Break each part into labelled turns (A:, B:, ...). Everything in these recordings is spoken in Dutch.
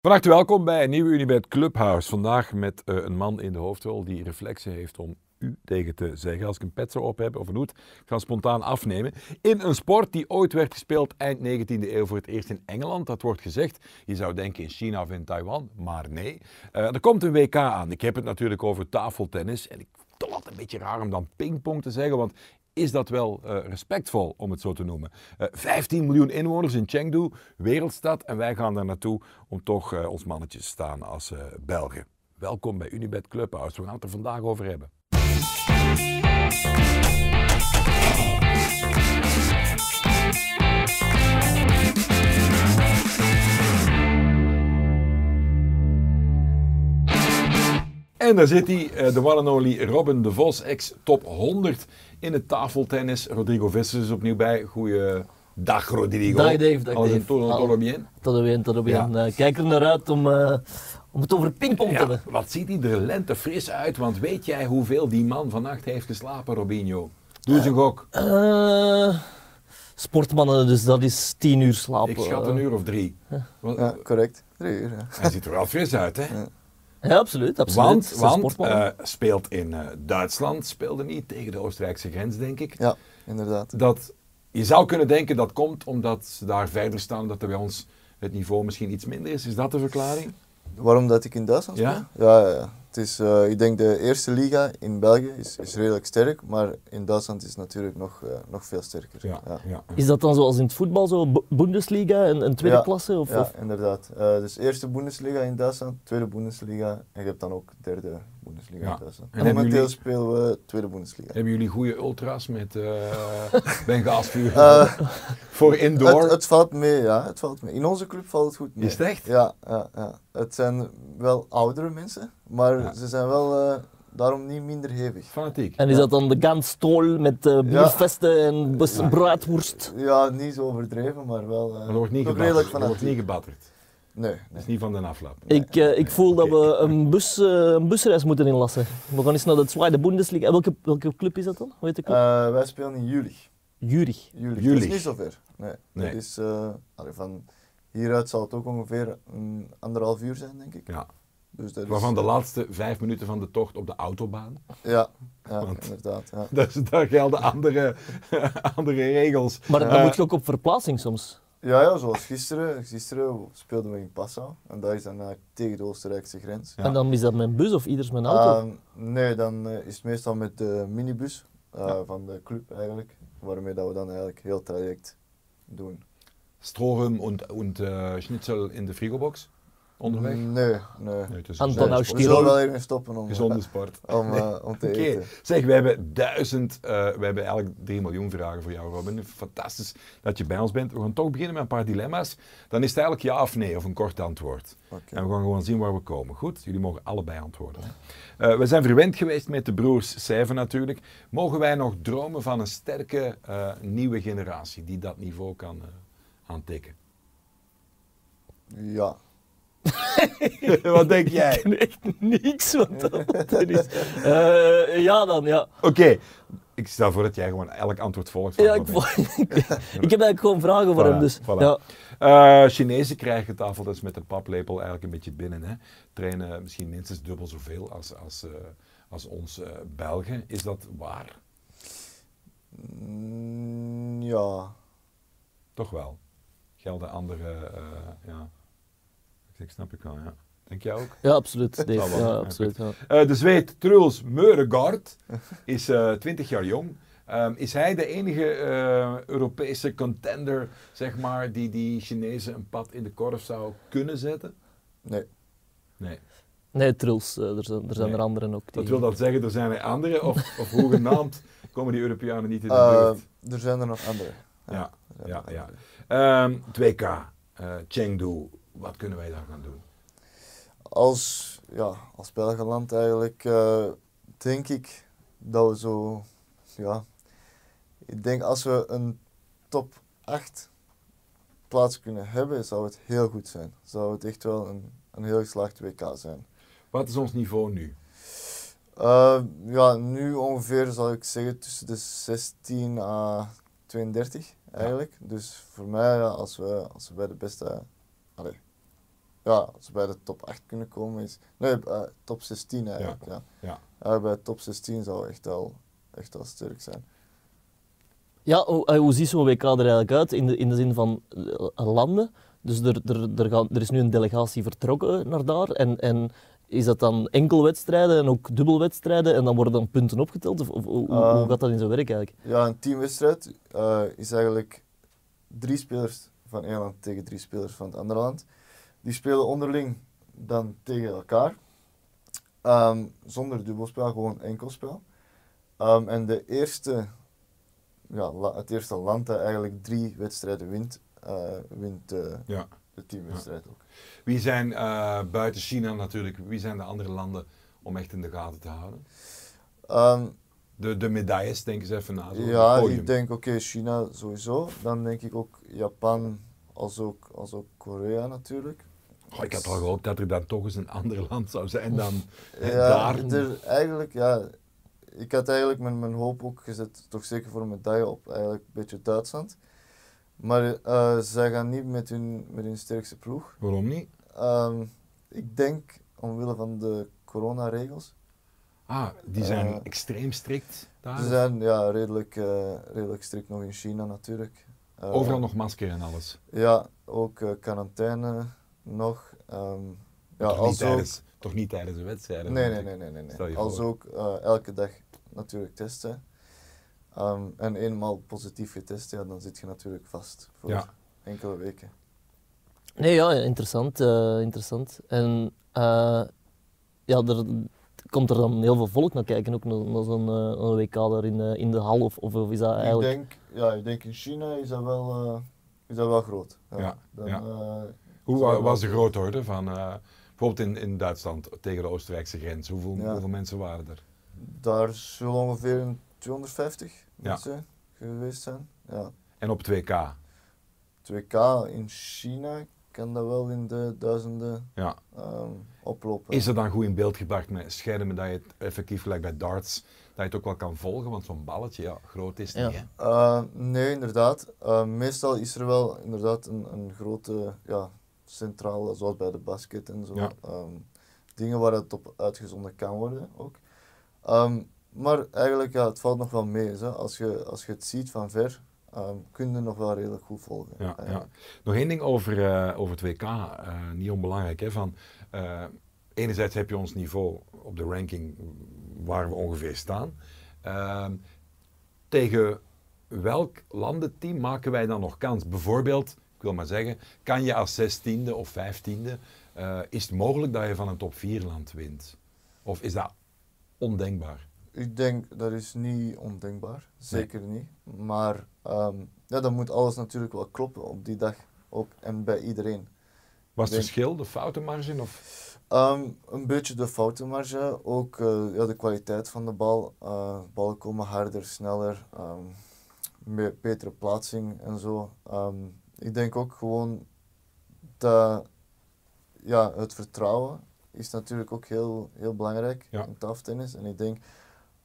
A: Van harte welkom bij een nieuwe Unibed Clubhouse. Vandaag met eh, een man in de hoofdrol die reflexen heeft om u tegen te zeggen. Als ik een pet zou op heb of een hoed, ik ga hem spontaan afnemen. In een sport die ooit werd gespeeld eind 19e eeuw voor het eerst in Engeland. Dat wordt gezegd. Je zou denken in China of in Taiwan, maar nee. Eh, er komt een WK aan. Ik heb het natuurlijk over tafeltennis. En ik vind het altijd een beetje raar om dan pingpong te zeggen, want is dat wel eh, respectvol, om het zo te noemen. Eh 15 miljoen inwoners in Chengdu, wereldstad, en wij gaan daar naartoe om toch eh, ons mannetje te staan als eh, Belgen. Welkom bij Unibed Clubhouse, we gaan het er vandaag over hebben. En daar zit hij, eh, de one and only Robin de Vos, ex-top 100 in het tafeltennis. Rodrigo Vissers is opnieuw bij. Goeiedag Rodrigo.
B: Dag Dave, dag
A: Alles in
B: Dave.
A: todo,
B: Hallo.
A: todo bien?
B: Tot de win, tot de win.
A: Ja.
B: Eh, kijk er naar uit om, eh, om het over pingpong te
A: Ja,
B: hebben.
A: wat ziet iedere lente fris uit, want weet jij hoeveel die man vannacht heeft geslapen, Robinho? Doe eens een gok.
B: Eh, sportmannen, dus dat is 10 uur slapen.
A: Ik schat een uur of drie. Want,
C: eh, Ja, correct. Drie uur, ja.
A: Hij ziet er wel fris uit, hè?
B: Ja, absoluut, absoluut.
A: Want,
B: Het zijn
A: want
B: sportmannen.
A: eh, speelt in eh, Duitsland, speelde niet tegen de Oostenrijkse grens, denk ik.
C: Ja, inderdaad.
A: Dat, je zou kunnen denken dat komt omdat ze daar verder staan, dat er bij ons het niveau misschien iets minder is. Is dat de verklaring?
C: Waarom dat ik in Duitsland speel?
A: Ja?
C: Ja, ja, ja. Het is, eh, ik denk de eerste liga in België is, is redelijk sterk, maar in Duitsland is het natuurlijk nog, eh, nog veel sterker.
A: Ja, ja.
B: Is dat dan zoals in het voetbal, zo B- Bundesliga en, en tweede
C: Ja,
B: klasse? Of,
C: Ja,
B: of-
C: inderdaad. Eh, dus eerste Bundesliga in Duitsland, tweede Bundesliga en je hebt dan ook derde Bundesliga
A: Ja.
C: in Duitsland.
A: En
C: En
A: hebben
C: momenteel
A: jullie-
C: spelen we tweede Bundesliga.
A: Hebben jullie goede ultras met eh Bengaalsvuur
C: Eh,
A: voor indoor?
C: Het, het valt mee, ja. Het valt mee. In onze club valt het goed mee.
A: Is het echt?
C: Ja, ja, ja. Het zijn wel oudere mensen, maar
A: Ja.
C: ze zijn wel eh, daarom niet minder hevig.
A: Fanatiek.
B: En is dat dan de Ganstol met eh biervesten en bes- braadworst?
C: Ja, niet zo overdreven, maar wel eh,
A: Er wordt niet
C: toch
A: gebatterd.
C: redelijk
A: Er wordt
C: fanatiek.
A: niet gebatterd.
C: Nee,
A: Het
C: nee.
A: is niet van de aflap.
B: Ik, eh, ik voel dat we een, bus, eh, een busreis moeten inlassen. We gaan eens naar de Zweite Bundesliga. En welke, welke club is dat dan? Hoe heet de club?
C: Eh, wij spelen in juli.
A: Eh,
B: Jülich.
C: juli.
A: Juli.
C: Het is niet zo ver. Nee.
A: Nee.
C: Het is, eh, allee, van hieruit zal het ook ongeveer een anderhalf uur zijn, denk ik.
A: Ja.
C: Dus dat is-
A: Waarvan de laatste vijf minuten van de tocht op de autobaan.
C: Ja, ja
A: Want-
C: inderdaad. Ja.
A: Dus daar gelden andere, andere regels.
B: Maar dan
A: Eh,
B: moet je ook op verplaatsing soms.
C: ja, ja, zoals gisteren. Gisteren speelden we in Passau en daar is dan eigenlijk tegen de Oostenrijkse grens.
A: Ja.
B: En dan is dat mijn bus of ieders mijn auto.
C: Ehm, nee, dan eh, is het meestal met de minibus eh, van de club eigenlijk. Waarmee dat we dan eigenlijk heel het traject doen.
A: Strorum en, en eh, schnitzel in de frigobox onderweg.
C: Nee, nee.
A: Nee, het is een
B: Anton
A: gezonde
B: nou
A: sport.
C: We zullen
B: Tirol.
C: wel even stoppen om,
A: Gezonde sport.
C: om, eh, om te
A: Oké,
C: eten.
A: zeg, we hebben duizend, eh, we hebben eigenlijk 3 miljoen vragen voor jou, Robin. Fantastisch dat je bij ons bent. We gaan toch beginnen met een paar dilemma's. Dan is het eigenlijk ja of nee, of een kort antwoord.
C: Oké.
A: En we gaan gewoon zien waar we komen. Goed, jullie mogen allebei antwoorden. Eh, we zijn verwend geweest met de broers Seven natuurlijk. Mogen wij nog dromen van een sterke eh, nieuwe generatie die dat niveau kan eh, aantikken?
C: Ja.
A: Wat denk jij?
B: Nee, echt niks wat dat is. Eh, ja dan, ja.
A: Oké, ik stel voor dat jij gewoon elk antwoord volgt. van
B: ja ik,
A: Robin.
B: vo- ik heb eigenlijk gewoon vragen voor
A: Voilà,
B: hem dus.
A: voilà.
B: Ja.
A: Eh, Chinezen krijgen tafeltens met een paplepel eigenlijk een beetje binnen. Hè. Trainen misschien minstens dubbel zoveel als, als, eh, als ons eh, Belgen. Is dat waar?
C: Mm, ja.
A: Toch wel. Gelden andere... eh, ja. Ik snap ik wel, ja. Denk jij ook?
B: ja, absoluut. Dave.
A: Zal wel.
B: Ja,
A: Ja,
B: absoluut ja.
A: Eh, de Zweed Truls Meuregaard is eh 20 jaar jong. Ehm, is hij de enige eh, Europese contender, zeg maar, die die Chinezen een pad in de korf zou kunnen zetten?
C: Nee.
A: Nee.
B: Nee, Truls, eh, er zijn, er, zijn
A: Nee.
B: er anderen ook.
A: Dat
B: die-
A: wil dat zeggen, er zijn er anderen, of, of hoegenaamd komen die Europeanen niet in de
C: Eh,
A: buurt.
C: er zijn er nog andere.
A: Ja,
C: er zijn
A: ja,
C: nog
A: ja.
C: andere.
A: Ehm 2K, eh, Chengdu, wat kunnen wij daar gaan doen?
C: Als, ja, als Belgenland eigenlijk eh, denk ik dat we zo, ja, ik denk als we een top 8 plaats kunnen hebben, zou het heel goed zijn. Zou het echt wel een, een heel geslaagd WK zijn.
A: Wat is ons niveau nu?
C: Eh, ja, nu ongeveer zal ik zeggen tussen de 16 à 32 eigenlijk. Dus voor mij, ja, als, we, als we bij de beste, allee, ja, als we bij de top 8 kunnen komen, is. Nee, eh, top 16 eigenlijk. Ja.
A: Ja.
C: Ja, bij top 16 zou echt wel, echt wel sterk zijn.
B: Ja, hoe, eh, hoe ziet zo'n WK er eigenlijk uit in de, in de zin van eh, landen? Dus er, er, er, gaan, er is nu een delegatie vertrokken naar daar. En, en is dat dan enkel wedstrijden en ook dubbelwedstrijden en dan worden dan punten opgeteld? Of, of hoe, hoe- hoe
C: Ehm,
B: gaat dat in zijn werk eigenlijk?
C: Ja, een teamwedstrijd eh, is eigenlijk drie spelers van één land tegen drie spelers van het andere land. Die spelen onderling dan tegen elkaar. Ehm, zonder dubbelspel, gewoon enkelspel. Ehm, en de eerste, ja, la- het eerste land dat eigenlijk drie wedstrijden wint, eh, wint de,
A: Ja.
C: de teamwedstrijd ook.
A: Wie zijn eh, buiten China natuurlijk, wie zijn de andere landen om echt in de gaten te houden?
C: Ehm,
A: De, de medailles, denk eens even na. zo'n
C: Ja,
A: podium.
C: ik denk oké, China sowieso. Dan denk ik ook Japan als ook, als ook Korea natuurlijk.
A: Oh, ik had al gehoopt dat er dan toch eens een ander land zou zijn dan hè,
C: Ja,
A: daar.
C: er, eigenlijk, ja, ik had eigenlijk mijn, mijn hoop ook gezet, toch zeker voor een medaille op, eigenlijk een beetje Duitsland. Maar eh zij gaan niet met hun, met hun sterkste ploeg.
A: Waarom niet?
C: Ehm, ik denk omwille van de coronaregels.
A: Ah, die zijn
C: Eh,
A: extreem strikt daar.
C: Ze zijn ja, redelijk, eh, redelijk strikt nog in China natuurlijk. Eh,
A: Overal nog masker en alles.
C: Ja, ook eh, quarantaine nog. ehm, ja,
A: toch, niet
C: als ook,
A: tijdens, toch niet tijdens een wedstrijd?
C: nee, nee, nee, nee, nee.
A: Stel je
C: nee. Als
A: voor.
C: ook eh, elke dag natuurlijk testen. Ehm, en eenmaal positief getest, ja, dan zit je natuurlijk vast voor
A: Ja.
C: enkele weken.
B: Nee, ja, interessant. eh, interessant. En eh, ja, er komt er dan heel veel volk naar kijken, ook naar, naar zo'n eh, een WK daar in, eh, in de hal? Of, of, of is dat eigenlijk...
C: Ik, denk, ja, ik denk in China is dat wel, eh, is dat wel groot.
A: Ja,
C: Dan,
A: ja.
C: eh,
A: Hoe wa-
C: Zou wel-
A: was de grootorde van, eh, bijvoorbeeld in, in Duitsland tegen de Oostenrijkse grens? Hoeveel,
C: Ja.
A: hoeveel mensen waren er?
C: daar zullen ongeveer een 250
A: Ja.
C: mensen geweest zijn. Ja.
A: En op 2K?
C: 2K in China kan dat wel in de duizenden
A: Ja.
C: ehm, oplopen.
A: Is er dan goed in beeld gebracht met schermen dat je het effectief, gelijk bij darts, dat je het ook wel kan volgen? Want zo'n balletje, ja, groot is het
B: Ja.
A: niet, hè?
C: Eh, nee, inderdaad. Eh, meestal is er wel inderdaad een, een grote ja, centrale, zoals bij de basket en zo.
A: Ja.
C: ehm, dingen waar het op uitgezonden kan worden ook. Ehm, maar eigenlijk, ja, het valt nog wel mee. Hè. Als, je, als je het ziet van ver, ehm, kun je het nog wel redelijk goed volgen.
A: Ja, ja.
C: eigenlijk.
A: Nog één ding over, eh, over het WK, eh, niet onbelangrijk. Hè, van, eh, enerzijds heb je ons niveau op de ranking waar we ongeveer staan. Ehm, tegen welk landenteam maken wij dan nog kans? Bijvoorbeeld, ik wil maar zeggen, kan je als zestiende of vijftiende, eh is het mogelijk dat je van een top 4 land wint? Of is dat ondenkbaar?
C: Eh, Ik denk dat is niet ondenkbaar, zeker niet. Maar ehm, ja, dan moet alles natuurlijk wel kloppen op die dag ook en bij iedereen.
A: Was het
C: Denk-
A: verschil, de foutenmarge? Of...
C: Ehm, een beetje de foutenmarge, ook eh, ja, de kwaliteit van de bal. Eh ballen komen harder, sneller, ehm, meer, betere plaatsing en zo. Ehm, ik denk ook gewoon dat ja, het vertrouwen is natuurlijk ook heel, heel belangrijk
A: Ja.
C: in taftennis. En ik denk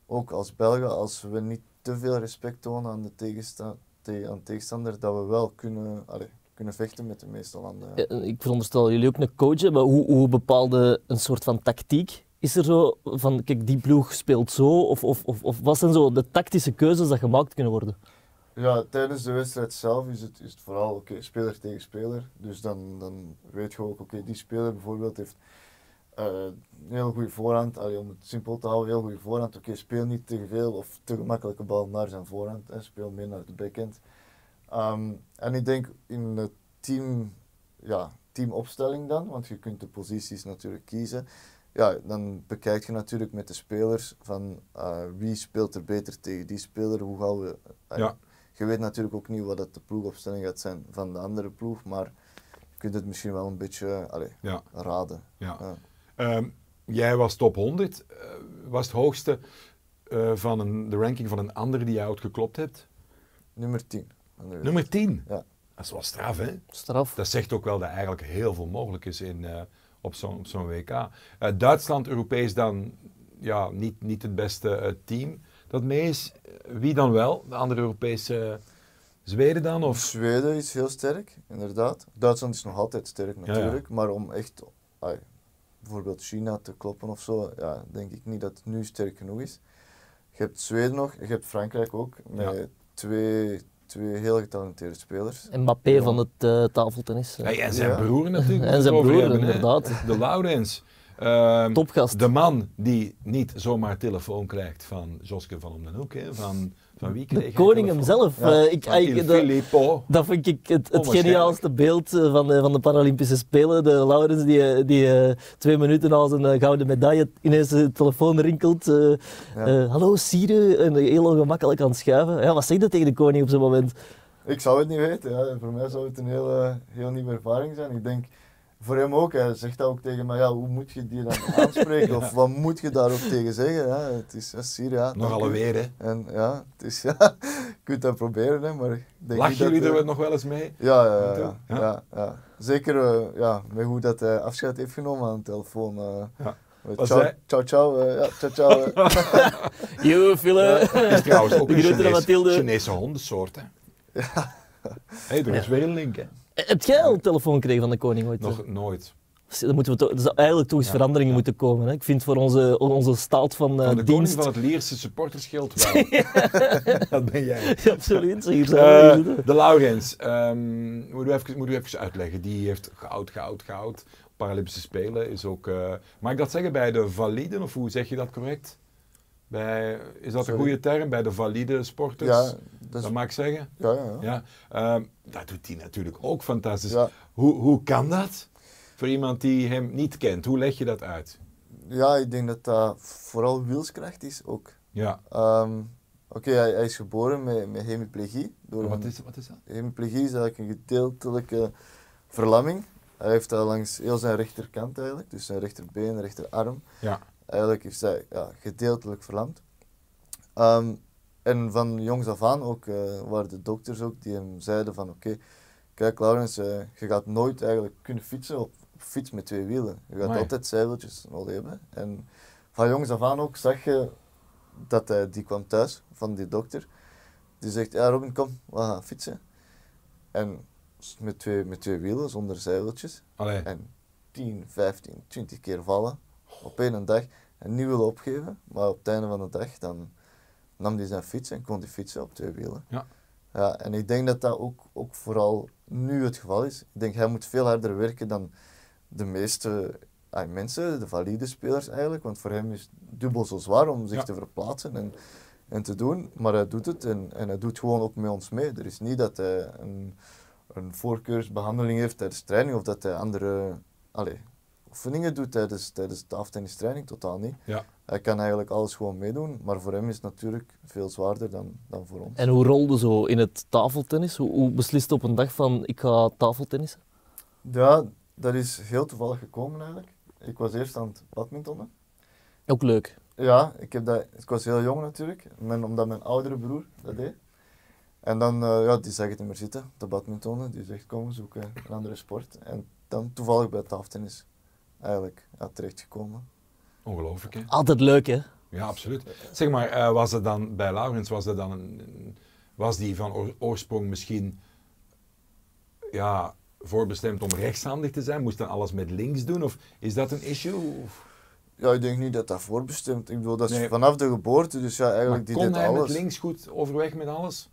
C: ook als Belgen, als we niet te veel respect tonen aan de tegensta- te- aan de tegenstander, dat we wel kunnen, allee, kunnen vechten met de meeste landen.
B: Ja, en Ik veronderstel dat jullie ook een coach hebben. Hoe, hoe bepaalde een soort van tactiek? Is er zo van, kijk, die ploeg speelt zo? Of, of, of, of wat zijn zo de tactische keuzes die gemaakt kunnen worden?
C: Ja, tijdens de wedstrijd zelf is het, is het vooral oké, speler tegen speler. Dus dan, dan weet je ook, oké, die speler bijvoorbeeld heeft eh, een heel goede voorhand. Allee, om het simpel te houden, heel goede voorhand. Oké, speel niet te veel of te gemakkelijke bal naar zijn voorhand en speel meer naar de backhand. Ehm, en ik denk in de team, ja, teamopstelling dan, want je kunt de posities natuurlijk kiezen. Ja, dan bekijk je natuurlijk met de spelers van eh, wie speelt er beter tegen die speler, hoe gaan we... eh,
A: Ja.
C: Je weet natuurlijk ook niet wat dat de ploegopstelling gaat zijn van de andere ploeg, maar je kunt het misschien wel een beetje eh, allee,
A: Ja.
C: raden.
A: Ja.
C: Ja.
A: Ehm, jij was top 100. eh, was het hoogste eh, van een, de ranking van een ander die jij uitgeklopt hebt?
C: Nummer 10. van de wereld.
A: Nummer 10.
C: Ja.
A: Dat is wel straf, hè?
B: Straf.
A: Dat zegt ook wel dat eigenlijk heel veel mogelijk is in, eh, op zo'n op zo'n WK. Eh, Duitsland, Europees dan ja, niet, niet het beste eh, team dat mee is. Eh, Wie dan wel? De andere Europese Zweden dan? Of?
C: Zweden is heel sterk, inderdaad. Duitsland is nog altijd sterk natuurlijk, maar om echt ai, bijvoorbeeld China te kloppen of zo, ja, denk ik niet dat het nu sterk genoeg is. Je hebt Zweden nog, je hebt Frankrijk ook, met twee, twee heel getalenteerde spelers.
B: Mbappé van het eh, tafeltennis. eh.
A: Ja, en zijn
C: Ja.
A: broer natuurlijk.
B: En zijn
A: moet het
B: broer,
A: over hebben, hè.
B: inderdaad.
A: De Laurens. Ehm,
B: Topgast.
A: De man die niet zomaar telefoon krijgt van Joske van om den Hoek. Hè? Van, van wie kreeg
B: De koning hem zelf.
C: Ja,
B: eh, ik,
A: Van
B: ik-
A: Il
B: dat-
A: Filippo.
B: dat vind ik het, het
A: Onwaarschijnlijk.
B: geniaalste beeld eh, van de, van de Paralympische Spelen. De Laurens die, eh, die eh, twee minuten als een eh, gouden medaille ineens de telefoon rinkelt. eh,
C: Ja.
B: eh, Hallo Sire, en heel ongemakkelijk aan het schuiven. Ja, wat zeg je tegen de koning op zo'n moment?
C: Ik zou het niet weten. Ja. Voor mij zou het een hele, heel nieuwe ervaring zijn. Ik denk, voor hem ook, hij zegt dat ook tegen mij, ja, hoe moet je die dan aanspreken? Of wat moet je daar ook tegen zeggen? Ja, het is ja, Syrië. Ja,
A: Nog
C: dank u.
A: alweer, hè?
C: En ja, het is, ja, je kunt dat proberen, hè, maar ik denk
A: Lachen
C: niet dat,
A: jullie
C: eh,
A: er nog wel eens mee?
C: ja, ja,
A: toe?
C: ja,
A: Ja.
C: ja, ja, ja. Zeker eh, ja, met hoe dat hij afscheid heeft genomen aan de telefoon. eh.
A: Ja.
C: Eh,
A: Wat
C: ciao,
A: zei-
C: ciao, ciao. eh, ja, ciao, ciao. eh.
B: Yo, Phil.
A: is trouwens ook
B: De
A: een
B: grote
A: Chinees,
B: Mathilde.
A: Chinese hondensoort, hè? Ja. Hé, er is weer een link, hè?
B: Heb jij al een telefoon gekregen van de koning ooit? Dus
A: Nog nooit.
B: Dan moeten we toch, er zou eigenlijk toch eens
A: Ja,
B: veranderingen moeten komen. Hè? Ik vind voor onze, onze staat van, eh,
A: Van de koning
B: dienst...
A: van het Lierse supporterschild wel. Dat ben jij.
B: Ja, Absoluut, hier
C: Oh,
B: zijn we, hier
A: Eh,
B: zitten we.
A: de Laurens, ehm moet, u even, moet u even uitleggen. Die heeft goud, goud, goud. Paralympische Spelen is ook. eh, mag ik dat zeggen bij de validen, of hoe zeg je dat correct? Bij, is dat
C: Sorry.
A: een goede term? Bij de valide sporters?
C: Ja, dat is-
A: dat mag ik zeggen.
C: ja, ja, ja.
A: Ja. ehm, dat doet hij natuurlijk ook fantastisch.
C: Ja.
A: Hoe, hoe kan dat? Voor iemand die hem niet kent, hoe leg je dat uit?
C: Ja, ik denk dat dat vooral wilskracht is ook.
A: Ja.
C: Ehm, Oké, hij, hij is geboren met, met hemiplegie. Door
A: Wat
C: een-
A: is, wat is dat?
C: Hemiplegie is eigenlijk een gedeeltelijke verlamming. Hij heeft dat langs heel zijn rechterkant eigenlijk, dus zijn rechterbeen, rechterarm.
A: Ja.
C: Eigenlijk is hij ja, gedeeltelijk verlamd. Ehm, en van jongs af aan ook, eh, waren de dokters ook die hem zeiden van oké, kijk Laurens, eh, je gaat nooit eigenlijk kunnen fietsen op, op fiets met twee wielen. Je gaat
A: Amai.
C: altijd zijwieltjes nodig hebben. En van jongs af aan ook zag je dat hij, die kwam thuis van die dokter. Die zegt, ja Robin kom, we gaan fietsen. En s- met twee, met twee wielen, zonder zijwieltjes.
A: Allee.
C: En 10, 15, 20 keer vallen op één dag. En niet willen opgeven, maar op het einde van de dag dan nam hij zijn fiets en kon hij fietsen op twee wielen.
A: Ja.
C: Ja, en ik denk dat dat ook, ook vooral nu het geval is. Ik denk, hij moet veel harder werken dan de meeste ah, mensen, de valide spelers eigenlijk. Want voor hem is het dubbel zo zwaar om zich
A: Ja.
C: te verplaatsen en, en te doen. Maar hij doet het en, en hij doet gewoon ook met ons mee. Er is niet dat hij een, een voorkeursbehandeling heeft tijdens training of dat hij andere allee, oefeningen doet tijdens, tijdens de aftennistraining, totaal niet.
A: Ja.
C: Hij kan eigenlijk alles gewoon meedoen, maar voor hem is het natuurlijk veel zwaarder dan, dan voor ons.
B: En hoe rolde zo in het tafeltennis? Hoe, hoe besliste op een dag van ik ga tafeltennissen?
C: Ja, dat is heel toevallig gekomen eigenlijk. Ik was eerst aan het badmintonnen.
B: Ook leuk.
C: Ja, ik, heb dat, ik was heel jong natuurlijk, mijn, omdat mijn oudere broer dat deed. En dan, eh, ja, die zag het niet meer zitten, de badmintonnen. Die zegt, kom, we zoeken een andere sport. En dan toevallig bij tafeltennis eigenlijk ja, terechtgekomen.
A: Ongelooflijk, hè?
B: Altijd leuk, hè?
A: Ja, absoluut. Zeg maar, eh, was het dan bij Laurens, was, dat dan een, een- was die van oor- oorsprong misschien ja, voorbestemd om rechtshandig te zijn? Moest dan alles met links doen? Of is dat een issue? Of,
C: Ja, ik denk niet dat dat voorbestemd. Ik bedoel, dat is
A: Nee.
C: vanaf de geboorte, dus ja,
A: maar
C: eigenlijk die
A: kon
C: deed
A: hij met
C: alles.
A: links goed overweg met alles?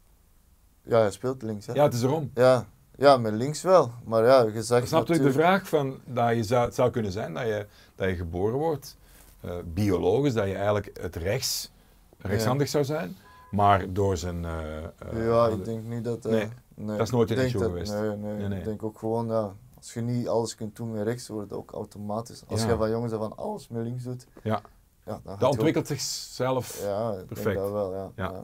C: Ja, hij speelt links, hè?
A: Ja, het is erom.
C: Ja, ja met links wel. Maar ja, je zag
A: Snap je de
C: natuurlijk-
A: vraag van dat je zou, het zou kunnen zijn dat je, dat je geboren wordt, eh, biologisch, dat je eigenlijk het rechts, rechtshandig zou zijn, maar door zijn... eh, eh,
C: Ja, ik denk niet dat... eh,
A: Nee, dat is nooit een
C: Ik denk
A: issue
C: dat-
A: geweest.
C: Nee, nee,
A: Nee, nee.
C: Ik denk ook gewoon, ja, als je niet alles kunt doen met rechts, wordt het ook automatisch. Als
A: Ja.
C: je van jongens af aan alles met links doet,
A: Ja,
C: ja, dan gaat je
A: dat
C: ook-
A: ontwikkelt zichzelf.
C: Ja, ik
A: Perfect.
C: denk dat wel, ja.
A: Ja.
C: ja.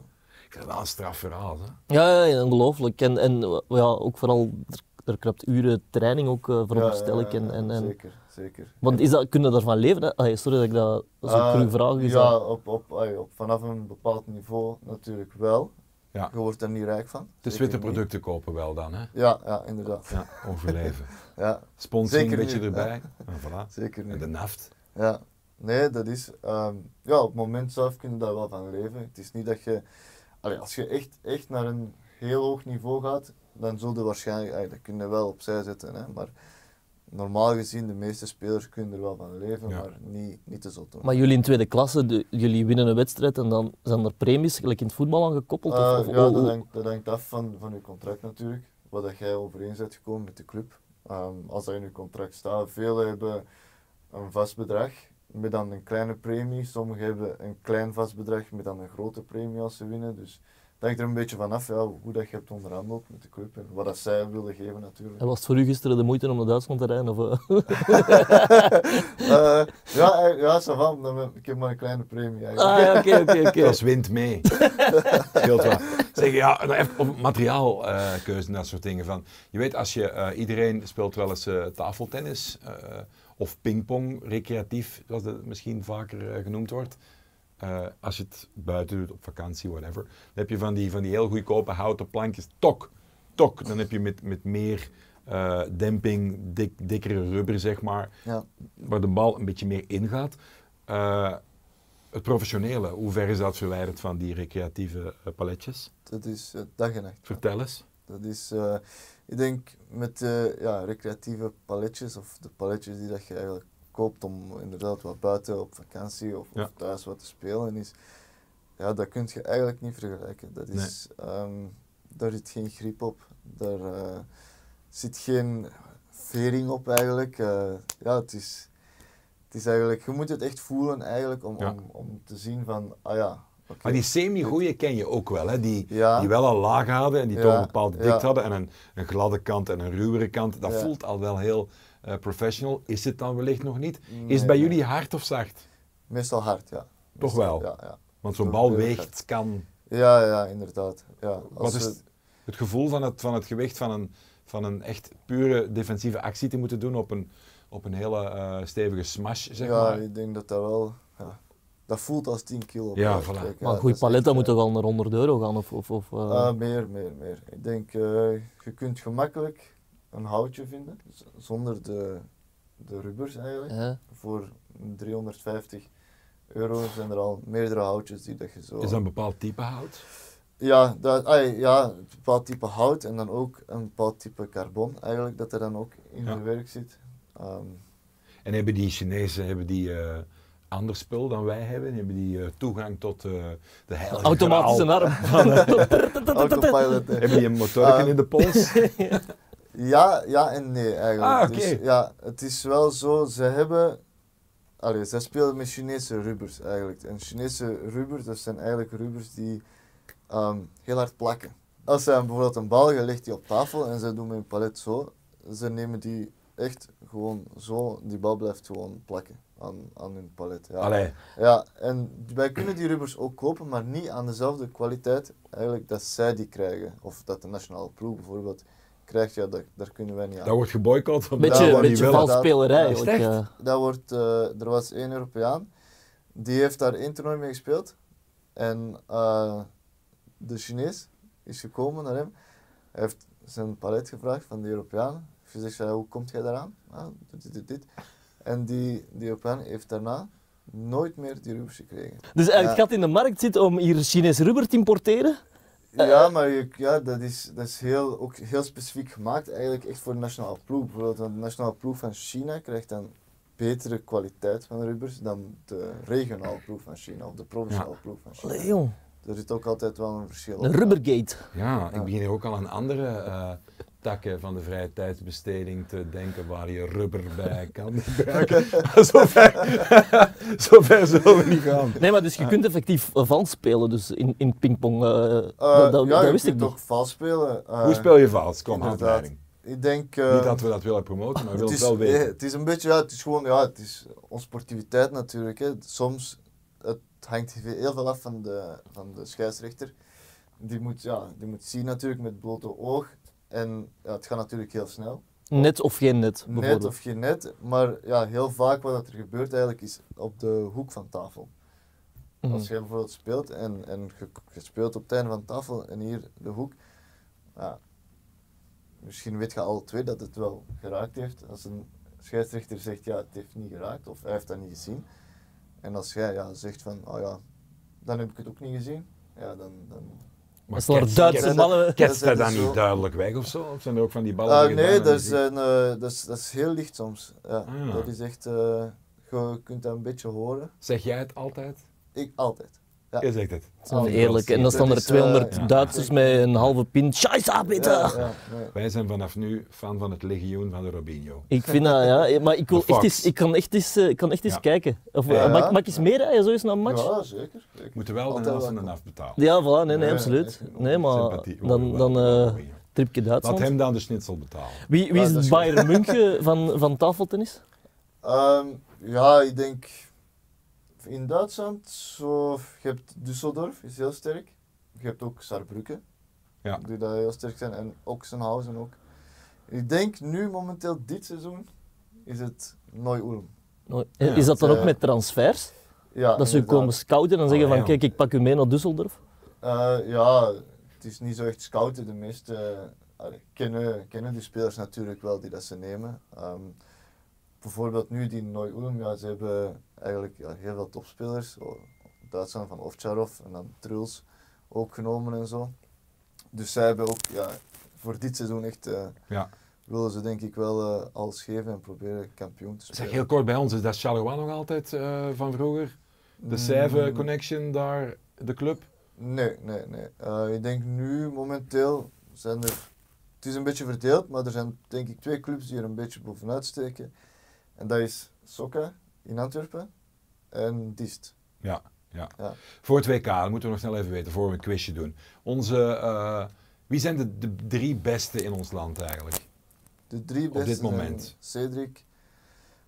A: Ik vind het wel een straf verhaal, hè?
B: Ja, ja, ja, ongelooflijk. En, en eh, ja, ook vooral, er, er knapt uren training ook, eh veronderstel ik.
C: Ja, ja,
B: En, en,
C: ja,
B: en,
C: Zeker, zeker.
B: want is dat, kunnen daarvan leven? Hè? Ai, sorry dat ik dat zo
C: Eh,
B: cru vraag. Is
C: ja,
B: dat-
C: op, op, ai, op, vanaf een bepaald niveau natuurlijk wel.
A: Ja.
C: Je wordt er niet rijk van.
A: Dus
C: Zeker
A: witte
C: niet.
A: producten kopen wel dan, hè?
C: Ja, ja, inderdaad.
A: Ja, overleven.
C: Ja,
A: Sponsoring
C: Zeker
A: een beetje
C: niet,
A: erbij. En voilà.
C: zeker
A: En
C: niet.
A: de naft.
C: Ja, nee, dat is. ehm, ja, op het moment zelf kun je daar wel van leven. Het is niet dat je. Allee, als je echt, echt naar een heel hoog niveau gaat, dan zul je waarschijnlijk eigenlijk kun je wel opzij zetten. Hè? Maar normaal gezien, de meeste spelers kunnen er wel van leven,
A: Ja.
C: maar niet, niet te zot doen.
B: Maar jullie in tweede klasse, de- jullie winnen een wedstrijd en dan zijn er premies gelijk in het voetbal aan gekoppeld? Of,
C: Eh,
B: of-
C: ja,
B: oh,
C: dat
B: oh.
C: hangt, dat hangt af van, van je contract natuurlijk. Wat dat jij overeen bent gekomen met de club. Ehm, als dat in je contract staat, velen hebben een vast bedrag met dan een kleine premie. Sommigen hebben een klein vast bedrag met dan een grote premie als ze winnen. Dus dat hangt er een beetje vanaf ja, hoe dat je hebt onderhandeld met de club en wat dat zij willen geven natuurlijk.
B: En was het voor u gisteren de moeite om naar Duitsland te rijden? Of, eh?
C: Eh, ja, eh, ja, ça va, dan- ik heb maar een kleine premie eigenlijk.
B: Ah, ja, oké, oké, oké.
A: Dat is wind mee. Scheelt wel. Zeg, ja, nou, even op materiaalkeuze en dat soort dingen. Van, je weet, als je, eh, iedereen speelt wel eens eh, tafeltennis eh, of pingpong, recreatief, zoals dat misschien vaker eh, genoemd wordt. Eh, als je het buiten doet, op vakantie, whatever. Dan heb je van die, van die heel goedkope houten plankjes, tok, tok. Dan heb je met, met meer eh, demping, dik, dikkere rubber, zeg maar
C: Ja.
A: waar de bal een beetje meer ingaat. Eh, het professionele, hoe ver is dat verwijderd van die recreatieve eh, paletjes?
C: Dat is eh, dag en nacht.
A: Vertel eens.
C: Dat is, eh, ik denk, met de ja, recreatieve paletjes of de paletjes die dat je eigenlijk koopt om inderdaad wat buiten op vakantie of,
A: Ja.
C: of thuis wat te spelen is, ja, dat kun je eigenlijk niet vergelijken. Dat
A: Nee.
C: is, ehm, daar zit geen grip op, daar eh, zit geen vering op eigenlijk. Eh, ja, het is, het is eigenlijk, je moet het echt voelen eigenlijk om,
A: Ja.
C: om, om te zien van, ah ja, oké.
A: Maar die semi-goeie ken je ook wel, hè? Die,
C: Ja.
A: die wel al laag hadden en die
C: Ja,
A: toch een bepaalde dikte
C: ja.
A: hadden en een, een gladde kant en een ruwere kant. Dat
C: Ja.
A: voelt al wel heel eh, professional. Is het dan wellicht nog niet? is
C: Nee,
A: het bij
C: nee.
A: jullie hard of zacht?
C: Meestal hard, ja.
A: Toch
C: Meestal,
A: wel?
C: Ja, ja.
A: Want zo'n
C: Toch
A: bal
C: heel
A: weegt,
C: hard.
A: kan.
C: Ja, ja, inderdaad. Ja, als
A: Wat is
C: we-
A: het, het gevoel van het, van het gewicht van een, van een echt pure defensieve actie te moeten doen op een, op een hele eh, stevige smash, zeg
C: ja,
A: maar?
C: ik denk dat dat wel... Ja, dat voelt als 10 kilo.
A: Ja,
C: per
A: voilà.
C: stuk,
B: maar een
C: dat
B: goed
C: is
B: palet,
C: echt,
B: dat
C: eh,
B: moet toch wel naar 100 euro gaan? Of, of, of, eh?
C: ah, meer, meer, meer. Ik denk, eh, je kunt gemakkelijk een houtje vinden, z- zonder de, de rubbers eigenlijk.
B: ja.
C: Voor 350 euro zijn er al meerdere houtjes die dat je zo...
A: Is dat een bepaald type hout?
C: Ja, dat, ai, ja, een bepaald type hout en dan ook een bepaald type carbon eigenlijk, dat er dan ook in
A: Ja.
C: verwerkt zit. Ehm,
A: En hebben die Chinezen hebben die, eh, ander spul dan wij hebben? Hebben die eh, toegang tot eh, de heilige
B: Automatische
A: graal?
B: arm.
C: autopilot. eh.
A: Hebben die een motorken
C: Ah.
A: in de pols?
C: Ja, ja en nee eigenlijk.
A: Ah,
C: dus,
A: oké.
C: ja, het is wel zo, ze hebben... Allee, ze spelen met Chinese rubbers eigenlijk. En Chinese rubbers, dat zijn eigenlijk rubbers die ehm, heel hard plakken. Als ze bijvoorbeeld een bal, je legt die op tafel en ze doen met een palet zo. Ze nemen die echt gewoon zo, die bal blijft gewoon plakken aan, aan hun palet. Ja.
A: Allee,
C: Ja, en wij kunnen die rubbers ook kopen, maar niet aan dezelfde kwaliteit eigenlijk dat zij die krijgen. Of dat de nationale ploeg bijvoorbeeld krijgt, ja, dat, daar kunnen wij niet aan.
A: dat wordt geboycott. want
B: Beetje,
A: dat
C: Ja,
A: wordt niet
B: beetje
A: wel.
C: vals.
B: vals spelerij.
C: Ja,
A: is het
B: eigenlijk,
A: echt?
B: eh.
C: Dat wordt, eh, er was één Europeaan, die heeft daar één toernooi mee gespeeld. En eh, de Chinees is gekomen naar hem. Hij heeft zijn palet gevraagd van de Europeaan. Hij zegt, ja, hoe komt jij daaraan? Ah, dit, dit, dit, dit. En die, die Europeaan heeft daarna nooit meer die rubbers gekregen.
B: Dus eigenlijk het
C: Ja.
B: gat in de markt zit om hier Chinees rubber te importeren.
C: Ja,
B: Eh,
C: maar je, ja, dat is, dat is heel, ook heel specifiek gemaakt, eigenlijk echt voor de nationale ploeg. Bijvoorbeeld want de nationale ploeg van China krijgt dan betere kwaliteit van rubbers dan de regionale ploeg van China of de provinciale ploeg van China.
B: Allee, jong.
C: Er zit ook altijd wel een verschil eh.
B: Een rubbergate.
A: Ja, ik begin hier ook al aan andere eh, takken van de vrije tijdsbesteding te denken waar je rubber bij kan gebruiken. zover, zover zullen we niet gaan.
B: Nee, maar dus je kunt effectief eh, vals spelen dus in, in pingpong. eh,
C: Eh,
B: dat, dat-
C: ja,
B: dat
C: je
B: wist ik
C: kunt
B: niet.
C: toch vals spelen. eh,
A: Hoe speel je vals? Kom,
C: inderdaad.
A: handleiding.
C: Ik denk... eh,
A: Niet dat we dat willen promoten, maar we
C: het,
A: willen
C: is,
A: het wel
C: eh,
A: weten.
C: het is een beetje, ja, het is gewoon, ja, het is onsportiviteit natuurlijk. Hè. Soms, het hangt heel veel af van de, van de scheidsrechter. Die moet, ja, die moet zien natuurlijk met blote oog. En ja, het gaat natuurlijk heel snel.
B: Net of geen net, bijvoorbeeld.
C: Net of geen net, maar ja, heel vaak wat dat er gebeurt eigenlijk is op de hoek van tafel.
B: Mhm.
C: Als jij bijvoorbeeld speelt en, en je, je speelt op het einde van tafel en hier de hoek, ja, misschien weet je alle twee dat het wel geraakt heeft. Als een scheidsrechter zegt ja, het heeft niet geraakt of hij heeft dat niet gezien. En als jij ja, zegt van, oh ja, dan heb ik het ook niet gezien, ja, dan, dan
B: Maar dat is Duitse mannen.
C: Ket-
A: Ketst
C: dat
A: hij
C: is
A: dan
C: zo.
A: niet duidelijk weg of zo? Of zijn er ook van die ballen?
C: Ah,
A: die je
C: nee,
A: dan
C: dat
A: niet
C: is,
A: ziet?
C: een, eh, dat, is, dat is heel licht soms. Ja,
A: Ah, ja.
C: Dat is echt, eh, je kunt dat een beetje horen.
A: Zeg jij het altijd?
C: Ik altijd. Ja.
A: Jij zegt het.
B: Dat is wel eerlijk. En dan staan
C: Oh, Dat
B: er
C: is, eh,
B: 200
A: ja.
B: Duitsers met een halve pint. Scheisse, bitte!
C: Ja, ja, nee.
A: Wij zijn vanaf nu fan van het legioen van de Robinho.
B: Ik vind dat, ja. Maar ik, wil
A: De
B: echt
A: Fox.
B: eens, ik kan echt eens, eh, ik kan echt eens
A: Ja.
B: kijken. Of,
C: Ja.
B: eh, Mag, mag ik eens meer rijden, zo eens naar een match? Ja,
C: Ja, zeker. zeker.
A: Moeten wel de
C: Altijd
A: helft van
C: welkom.
A: de afbetaald.
B: voilà. Nee, nee,
C: Ja,
B: absoluut.
C: echt.
B: Nee, maar
A: Sympathie-
B: dan, dan eh tripje
A: Laat
B: Duitsland.
A: hem dan de schnitzel betalen.
B: Wie, wie
C: Ja,
B: is
C: dat
B: het
C: is
B: Bayern München van, van tafeltennis?
C: Ehm, ja, ik denk in Duitsland, zo, je hebt Düsseldorf, is heel sterk. Je hebt ook Saarbrücken,
A: Ja.
C: die daar heel sterk zijn, en Oxenhausen ook. Ik denk nu momenteel dit seizoen is het Neu-Ulm.
B: Nooit.
A: Ja,
B: is dat dan
C: eh,
B: ook met transfers?
C: Ja,
B: dat ze
C: inderdaad. Ah,
B: komen scouten en zeggen
A: Oh,
B: van
A: ja.
B: kijk, ik pak u mee naar Düsseldorf.
C: Eh, ja, het is niet zo echt scouten. De meeste eh, allee, kennen, kennen die spelers natuurlijk wel die dat ze nemen. Ehm, bijvoorbeeld nu die Neu-Ulm, ja, ze hebben eigenlijk ja, heel veel topspelers. O- Duitsland van Ovcharov en dan Truls ook genomen en zo. Dus zij hebben ook ja, voor dit seizoen echt, eh,
A: Ja.
C: willen ze denk ik wel eh, alles geven en proberen kampioen te spelen.
A: Zeg heel kort bij ons, is dat Charleroi nog altijd eh, van vroeger? De
C: Mm.
A: Sèvres Connection daar, de club?
C: Nee, nee, nee. Eh, ik denk nu momenteel zijn er. Het is een beetje verdeeld, maar er zijn denk ik twee clubs die er een beetje bovenuit steken. En dat is Sokka in Antwerpen en Diest.
A: Ja, ja.
C: Ja.
A: Voor het WK, dat moeten we nog snel even weten, voor we een quizje doen. Onze, eh, wie zijn de, de drie beste in ons land eigenlijk?
C: De drie
A: Op
C: beste
A: dit
C: zijn
A: moment.
C: Cedric,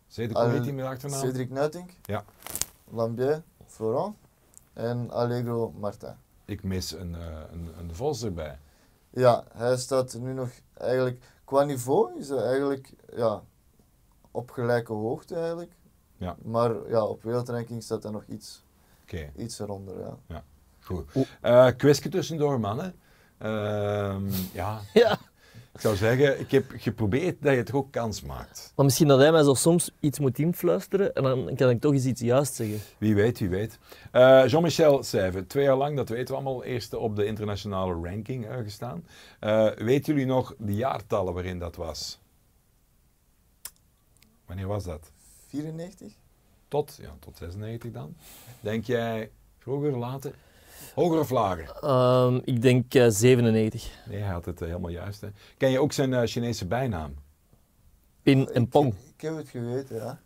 A: Zet de
C: Eh,
A: Corriti met de achternaam?
C: Cedric Nuitink,
A: Ja.
C: Lambier, Florent en Allegro Marta.
A: Ik mis een, eh, een, een Vos erbij.
C: Ja, hij staat er nu nog eigenlijk. Qua niveau is hij eigenlijk ja, op gelijke hoogte eigenlijk.
A: Ja.
C: Maar ja, op wereldranking staat hij nog iets
A: Oké,
C: Iets eronder, ja.
A: goed.
B: Oeh.
A: Eh quizje tussendoor, mannen. Ehm, ja,
B: Ja.
A: ik zou zeggen, ik heb geprobeerd dat je het ook kans maakt.
B: Maar misschien dat hij mij zo soms iets moet influisteren en dan kan ik toch eens iets juist zeggen.
A: Wie weet, wie weet. Eh, Jean-Michel Seyve, twee jaar lang, dat weten we allemaal, eerste op de internationale ranking eh, gestaan. Eh, weten jullie nog de jaartallen waarin dat was? Wanneer was dat?
C: 94?
A: Tot, ja, tot 96 dan. Denk jij vroeger, later? Hoger of lager?
B: Ehm, ik denk eh, 97.
A: Nee, hij had het eh, helemaal juist. Hè. Ken je ook zijn eh, Chinese bijnaam?
B: Pin en pong.
C: Ik, ik heb het geweten, ja.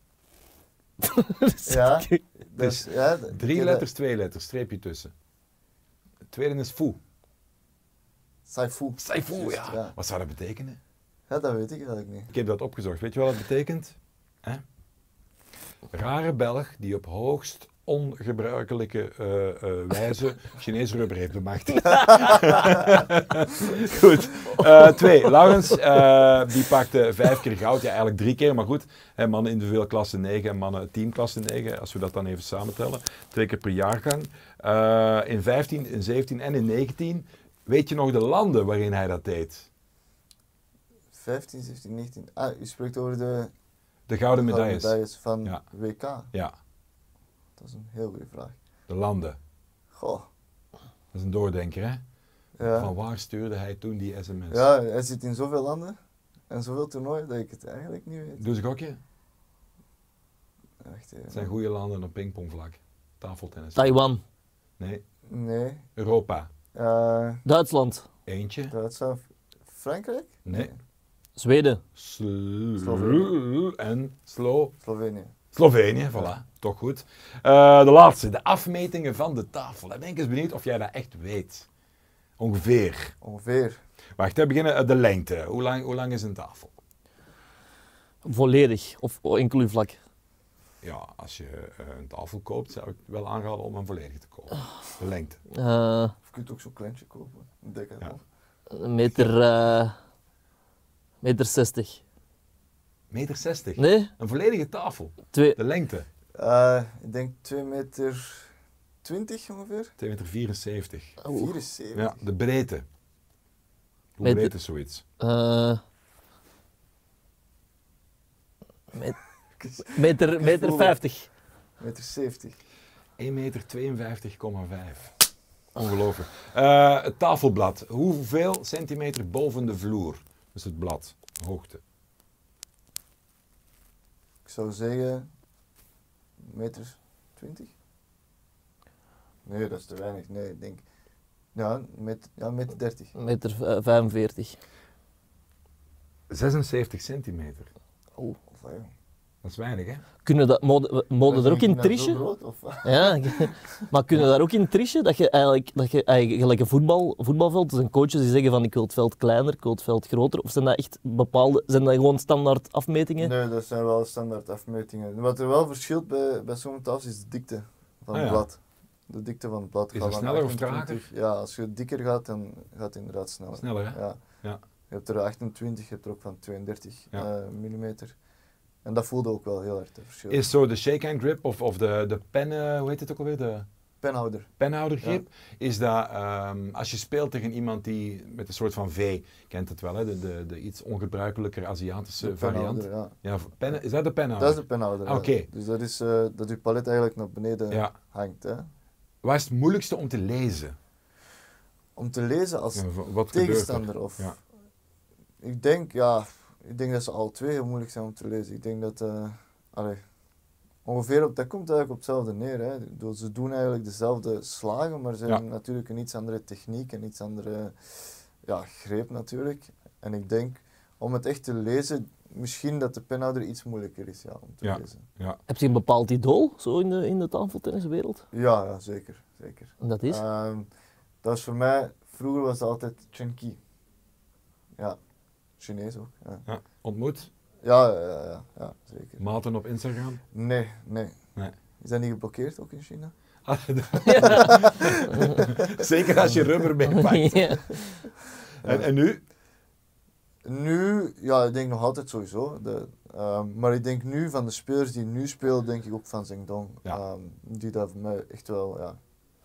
C: ja, dat is- ja, dat- ik
A: Dus Drie
C: heb
A: letters, twee letters, streepje tussen. Het tweede is Fu.
C: dat- Saifu.
A: Saifu,
C: Juist,
A: ja.
C: ja.
A: Wat zou dat betekenen?
C: Ja, dat weet ik eigenlijk niet.
A: Ik heb dat opgezocht. Weet je wat dat betekent? Hè? Rare Belg die op hoogst ongebruikelijke eh, eh, wijze Chinees rubber heeft bemachtigd. goed. Eh, twee, Laurens, eh, die pakte vijf keer goud. Ja, eigenlijk drie keer, maar goed. Hè, mannen individueel klasse 9 en mannen teamklasse 9, als we dat dan even samentellen. Twee keer per jaargang. Eh, in 15, in 17 en in 19. Weet je nog de landen waarin hij dat deed?
C: 15, 17, 19. Ah, u spreekt over de
A: De gouden
C: gouden
A: medailles.
C: medailles van
A: Ja.
C: WK.
A: Ja,
C: Dat is een heel goede vraag.
A: de landen.
C: Goh.
A: Dat is een doordenker, hè? Van
C: Ja.
A: waar stuurde hij toen die sms?
C: ja, hij zit in zoveel landen en zoveel toernooien dat ik het eigenlijk niet weet. eh,
A: Doe eens een gokje.
C: Wacht
A: Het
C: even.
A: zijn goede landen op pingpongvlak. Tafeltennis.
B: Taiwan.
A: Nee,
C: Nee.
A: Europa.
C: Eh,
B: Duitsland.
A: Eentje.
C: Duitsland. Frankrijk?
A: Nee.
B: Zweden.
A: Slo-
C: Slovenië.
A: en Slo
C: Slovenië.
A: Slovenië, voilà. Toch goed. Eh, de laatste, de afmetingen van de tafel. Ik ben ik eens benieuwd of jij dat echt weet. Ongeveer.
C: Ongeveer.
A: Wacht, hè, beginnen eh, de lengte. Hoe lang, hoe lang is een tafel?
B: Volledig. Of enkel uw vlak.
A: Ja, als je eh, een tafel koopt, zou ik wel aanraden om een volledige te kopen.
C: Oh.
A: De lengte.
B: Eh,
C: Of je kunt ook zo'n kleintje kopen. Een dikke.
A: Ja.
B: een meter... eh meter 60.
A: Meter 60.
B: Nee?
A: Een volledige tafel.
B: Twee...
A: De lengte.
C: Eh, ik denk 2 meter 20 ongeveer.
A: 2,74 meter. 74.
B: Oeh.
C: 74.
A: Ja, de breedte. Hoe
B: Met-
A: breed is zoiets?
B: Eh, met- meter, meter
C: voel-
B: 50.
C: Meter 70.
A: 1,52,5 meter. Ongelooflijk. Eh, het tafelblad. Hoeveel centimeter boven de vloer is het blad? Hoogte.
C: Ik zou zeggen, meter 20? Nee, dat is te weinig. Nee, ik denk, ja, met, ja, meter 30.
B: Meter eh, 45.
A: 76 centimeter.
C: Of, eh, ja.
A: Dat is weinig, hè?
B: Kunnen dat, mode, mode er ook in
C: trisje?
B: trischen?
C: eh,
B: Ja, maar kunnen daar ook in trischen? Dat je eigenlijk, dat je eigenlijk gelijk een voetbal, voetbalveld, er zijn coaches die zeggen van ik wil het veld kleiner, ik wil het veld groter. Of zijn dat echt bepaalde, zijn dat gewoon standaard afmetingen?
C: Nee, dat zijn wel standaard afmetingen. Wat er wel verschilt bij, bij sommige tafels is de dikte van
A: Ah,
C: het
A: ja.
C: blad. De dikte van het blad.
A: Is
C: gaat
A: dat
C: van
A: sneller of
C: 28 Ja, als je dikker gaat, dan gaat het inderdaad sneller.
A: Sneller, hè?
C: Ja.
A: Ja.
C: Je hebt er 28, je hebt er ook van 32
A: Ja.
C: mm. En dat voelde ook wel heel erg het verschil.
A: Is zo de shake-hand grip of, of de, de pen, eh, hoe heet het ook alweer? De
C: Penhouder.
A: penhoudergrip. Is dat, ehm, als je speelt tegen iemand die met een soort van V, kent het wel, hè? De, de, de iets ongebruikelijker Aziatische
C: De
A: variant.
C: penhouder, ja.
A: Ja, pen, is dat de penhouder?
C: Dat is de penhouder.
A: Ah,
C: ja.
A: oké.
C: Dus dat is eh, dat je palet eigenlijk naar beneden
A: Ja.
C: hangt. Hè.
A: Waar is het moeilijkste om te lezen?
C: Om te lezen als
A: Ja, wa- wat gebeurt er?
C: tegenstander. Of
A: Ja.
C: Ik denk, ja, ik denk dat ze al twee heel moeilijk zijn om te lezen. Ik denk dat, eh, allee, ongeveer op, dat komt eigenlijk op hetzelfde neer. Hè. Ik bedoel, ze doen eigenlijk dezelfde slagen, maar ze
A: Ja.
C: hebben natuurlijk een iets andere techniek, een iets andere ja, greep natuurlijk. En ik denk, om het echt te lezen, misschien dat de penhouder iets moeilijker is ja, om te
A: Ja.
C: lezen.
A: Ja.
B: Heb je een bepaald idool zo in de, in de tafeltenniswereld?
C: Ja, ja, zeker. zeker.
B: En dat
A: Eh,
B: is?
C: Ehm, dat is voor mij, vroeger was het altijd Chen Qi. Ja, Chinees ook. Ja,
A: ja. Ontmoet?
C: ja, ja, ja, ja, ja, zeker.
A: Maten op Instagram?
C: Nee, nee.
A: Nee.
C: Is dat niet geblokkeerd ook in China?
A: Ah, Zeker als je rubber meepakt.
B: Ja.
A: En, en nu?
C: Nu, ja, ik denk nog altijd sowieso. De, ehm, maar ik denk nu van de spelers die nu spelen, denk ik ook van Zhengdong.
A: Ja.
C: Ehm, die dat voor mij echt wel, ja.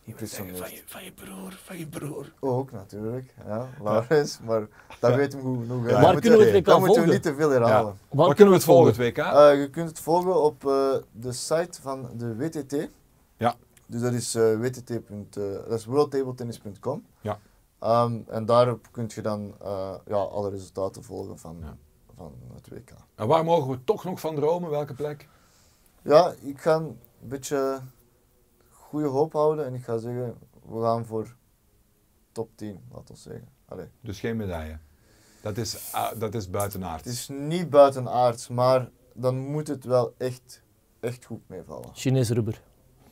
C: impressioneert.
A: je, van je broer, van je broer.
C: Ook natuurlijk, ja, Laurens, maar dat weet hem goed genoeg. hè.
A: Ja.
C: Dat
A: Waar
C: moeten
B: kunnen we het
C: we-
B: WK
C: dat moeten we
B: volgen?
C: niet te veel herhalen.
A: Ja. Waar kunnen we het volgen, het WK?
C: Eh, je kunt het volgen op eh, de site van de WTT.
A: Ja.
C: Dus dat is eh, wtt. punt, eh, dat is worldtabletennis.com.
A: Ja.
C: Ehm, en daarop kun je dan eh, ja, alle resultaten volgen van,
A: Ja.
C: van het WK.
A: En waar mogen we toch nog van dromen? Welke plek?
C: Ja, ik ga een beetje goede hoop houden en ik ga zeggen, we gaan voor top 10, laten we zeggen. Allee.
A: Dus geen medaille. Dat is, ah, dat is buitenaard.
C: Het is niet buitenaards, maar dan moet het wel echt, echt goed meevallen.
B: Chinees rubber.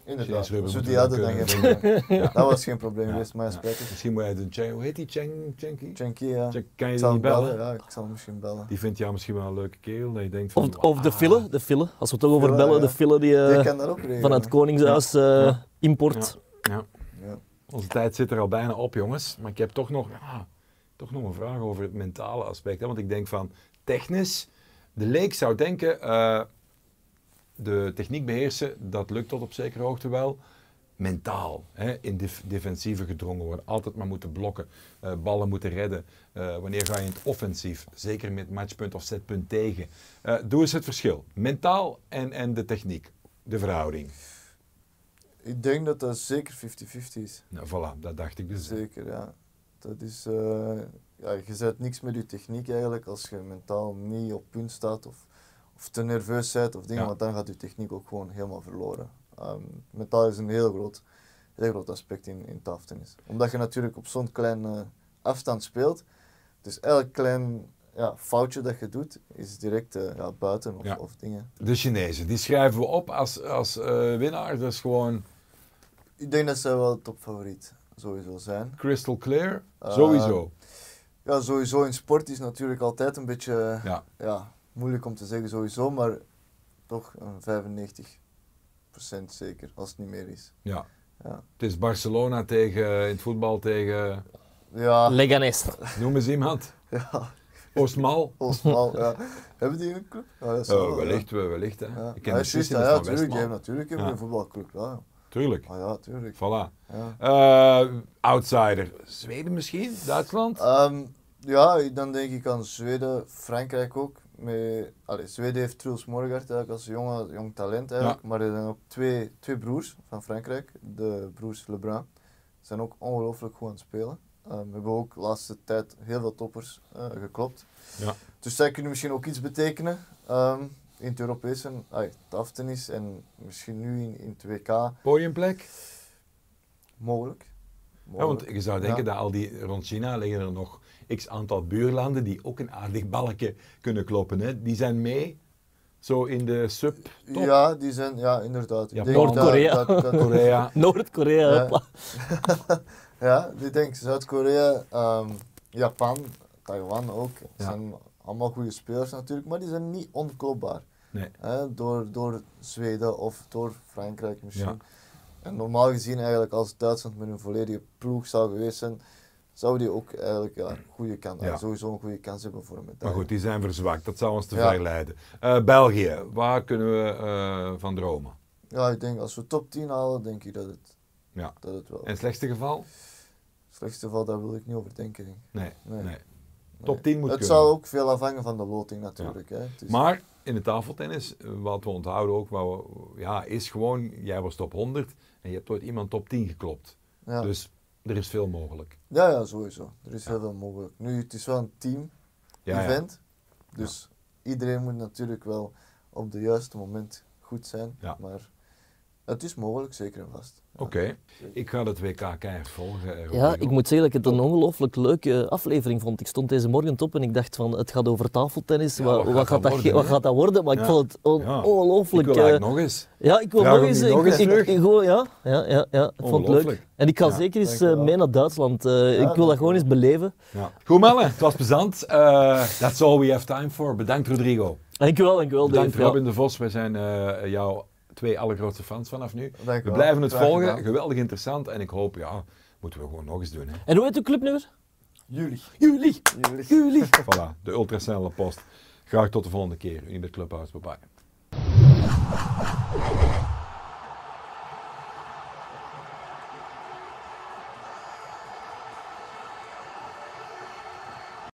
C: Inderdaad,
A: Chinees rubber
C: zo
A: moeten
C: die
A: we
C: hadden dan
A: ook,
C: geen
A: eh,
C: probleem.
A: Ja.
C: Dat was geen probleem
A: Ja,
C: geweest, maar ja,
A: ja.
C: spijtig.
A: Misschien moet je de Cheng, hoe heet die Cheng? Chenky?
C: Janky, ja.
A: Cheng- Kan
C: Ik
A: je die
C: zal
A: niet
C: hem
A: bellen?
C: bellen, ja, ik zal hem misschien bellen.
A: Die vindt jou misschien wel een leuke kerel. Dat je denkt van,
B: Of, of de
A: ah,
B: file, de file. Als we het toch over
C: Fille,
B: bellen,
C: ja.
B: de file die eh,
C: Die kan daar ook regelen.
B: van het Koningshuis eh,
A: Ja.
B: import.
A: Ja.
C: Ja.
A: Onze tijd zit er al bijna op, jongens. Maar ik heb toch nog, ja, toch nog een vraag over het mentale aspect. Hè? Want ik denk van technisch, de leek zou denken, eh, de techniek beheersen, dat lukt tot op zekere hoogte wel. Mentaal, hè? in def- defensieve gedrongen worden, altijd maar moeten blokken, eh, ballen moeten redden. Eh, wanneer ga je in het offensief, zeker met matchpunt of setpunt tegen. Eh, doe eens het verschil, mentaal en, en de techniek, de verhouding.
C: Ik denk dat dat zeker 50-50 is.
A: Nou, voilà, dat dacht ik dus.
C: Zeker, ja. Dat is, eh, ja, je zet niks met je techniek eigenlijk als je mentaal niet op punt staat of, of te nerveus bent of dingen,
A: Ja.
C: want dan gaat je techniek ook gewoon helemaal verloren. Ehm, mentaal is een heel groot, heel groot aspect in, in tafeltennis. Omdat je natuurlijk op zo'n kleine afstand speelt, dus elk klein ja, foutje dat je doet is direct eh, ja, buiten of,
A: Ja.
C: of dingen.
A: De Chinezen, die schrijven we op als, als eh, winnaar. Dat is gewoon
C: Ik denk dat zij wel topfavoriet sowieso zijn.
A: crystal clear.
C: Eh,
A: Sowieso.
C: Ja, sowieso in sport is natuurlijk altijd een beetje...
A: Ja.
C: ja, moeilijk om te zeggen sowieso, maar toch een 95% zeker, als het niet meer is.
A: ja.
C: Ja.
A: Het is Barcelona tegen, in het voetbal tegen,
B: Ah.
C: Ja,
B: Leganes.
A: noem eens iemand,
C: ja,
A: Osmal.
C: Osmal, ja. Hebben die een club? Ja, dat
A: Eh,
C: zal wel,
A: wellicht, eh, wellicht. Hè.
C: Ja.
A: Ik
C: Ja,
A: ken de
C: juist,
A: Sissin
C: ja,
A: van
C: tuurlijk, die
A: Westmal.
C: hebben natuurlijk hebben
A: Ja.
C: een voetbalclub, ja.
A: Tuurlijk,
C: Ah ja, tuurlijk.
A: voilà.
C: Ja.
A: Eh, outsider, Zweden misschien, Duitsland?
C: Ehm, ja, dan denk ik aan Zweden, Frankrijk ook. Met, allee, Zweden heeft Truls Morgard eigenlijk als jonge, jong talent eigenlijk, maar er zijn ook twee, twee broers van Frankrijk, de broers Lebrun. zijn ook ongelooflijk goed aan het spelen. Eh, we hebben ook de laatste tijd heel veel toppers eh, geklopt.
A: Ja.
C: Dus zij kunnen misschien ook iets betekenen ehm, in het Europese, ay, het aftennis en misschien nu in, in het WK
A: Podiumplek?
C: mogelijk.
A: Ja, want je zou denken
C: Ja.
A: dat al die rond China liggen er nog x aantal buurlanden die ook een aardig balkje kunnen kloppen. Hè? Die zijn mee, zo in de sub-top.
C: Ja, die zijn, ja, inderdaad.
A: Ja,
C: Ik denk
B: Noord-Korea.
C: dat- dat- dat-
A: Korea.
B: Noord-Korea.
C: Ja.
B: hopla.
C: Ja, die denk Zuid-Korea, ehm, Japan, Taiwan ook. Het
A: Ja.
C: zijn allemaal goede spelers natuurlijk, maar die zijn niet onklopbaar.
A: Nee.
C: Hè, door, door Zweden of door Frankrijk misschien.
A: Ja.
C: En normaal gezien eigenlijk als Duitsland met een volledige ploeg zou geweest zijn, zou die ook eigenlijk ja, een goede kans,
A: Ja.
C: sowieso een goede kans hebben voor een medaille.
A: Maar goed, die zijn verzwakt. Dat zou ons te
C: Ja.
A: ver leiden. Eh, België, waar kunnen we eh, van dromen?
C: Ja, ik denk als we top 10 halen, denk ik dat het,
A: Ja.
C: dat het wel.
A: In het slechtste geval?
C: slechtste geval, daar wil ik niet over denken. denk ik.
A: Nee. nee.
C: Nee.
A: Top 10 moet
C: het
A: kunnen.
C: zou ook veel afhangen van de loting natuurlijk. Hè. Het is-
A: Maar in de tafeltennis, eh, wat we onthouden ook, wat we- ja, is gewoon, jij was top 100 en je hebt ooit iemand top 10 geklopt.
C: ja.
A: Dus er is veel mogelijk.
C: Ja, ja, sowieso. Er is heel veel mogelijk. Nu, het is wel een team-event.
A: Ja, ja.
C: Dus iedereen moet natuurlijk wel op de juiste moment goed zijn.
A: Ja.
C: Maar het is mogelijk, zeker en vast. Ja.
A: Oké, ik ga het WK keihard volgen. eh,
B: Ja,
A: Rodrigo.
B: ik moet zeggen dat ik het een ongelooflijk leuke aflevering vond. Ik stond deze morgen op en ik dacht van, het gaat over tafeltennis.
A: Ja,
B: wa-
A: wat
B: wat,
A: gaat
B: gaat
A: dat
B: dat
A: worden,
B: ge- wat
A: hè?
B: gaat dat worden? Maar
A: Ja.
B: ik vond het on-
A: Ja.
B: ongelooflijk...
A: Ik wil eigenlijk
B: eh,
A: nog eens.
B: Ja, ik wil
A: Vraag
B: nog
A: hem
B: eens.
A: nu
B: Ik,
A: nog eens
B: ik-
A: terug.
B: ik wil- ja, ja, ja, ja, ik vond het
A: Ongelooflijk.
B: leuk. En ik ga
A: Ja,
B: zeker eens
C: dankjewel.
B: eh, mee naar Duitsland. Eh, ik wil
C: dankjewel.
B: dat gewoon eens beleven.
A: Ja. Goed mannen, het was plezant. Eh, that's all we have time for. Bedankt Rodrigo.
B: Dankjewel, dankjewel.
A: Bedankt
B: Dave, ja.
A: Robin de Vos. Wij zijn eh, jouw twee allergrootste fans vanaf nu.
C: Dank
A: We
C: wel.
A: blijven het
C: Graag
A: volgen.
C: gedaan.
A: Geweldig interessant. En ik hoop, ja, moeten we gewoon nog eens doen. Hè.
B: En hoe heet uw club nu weer?
C: Jullie.
B: Jullie.
C: Jullie.
B: Jullie.
A: Voilà, de ultrasnelle post. Graag tot de volgende keer. Unibet Clubhouse. Bye bye.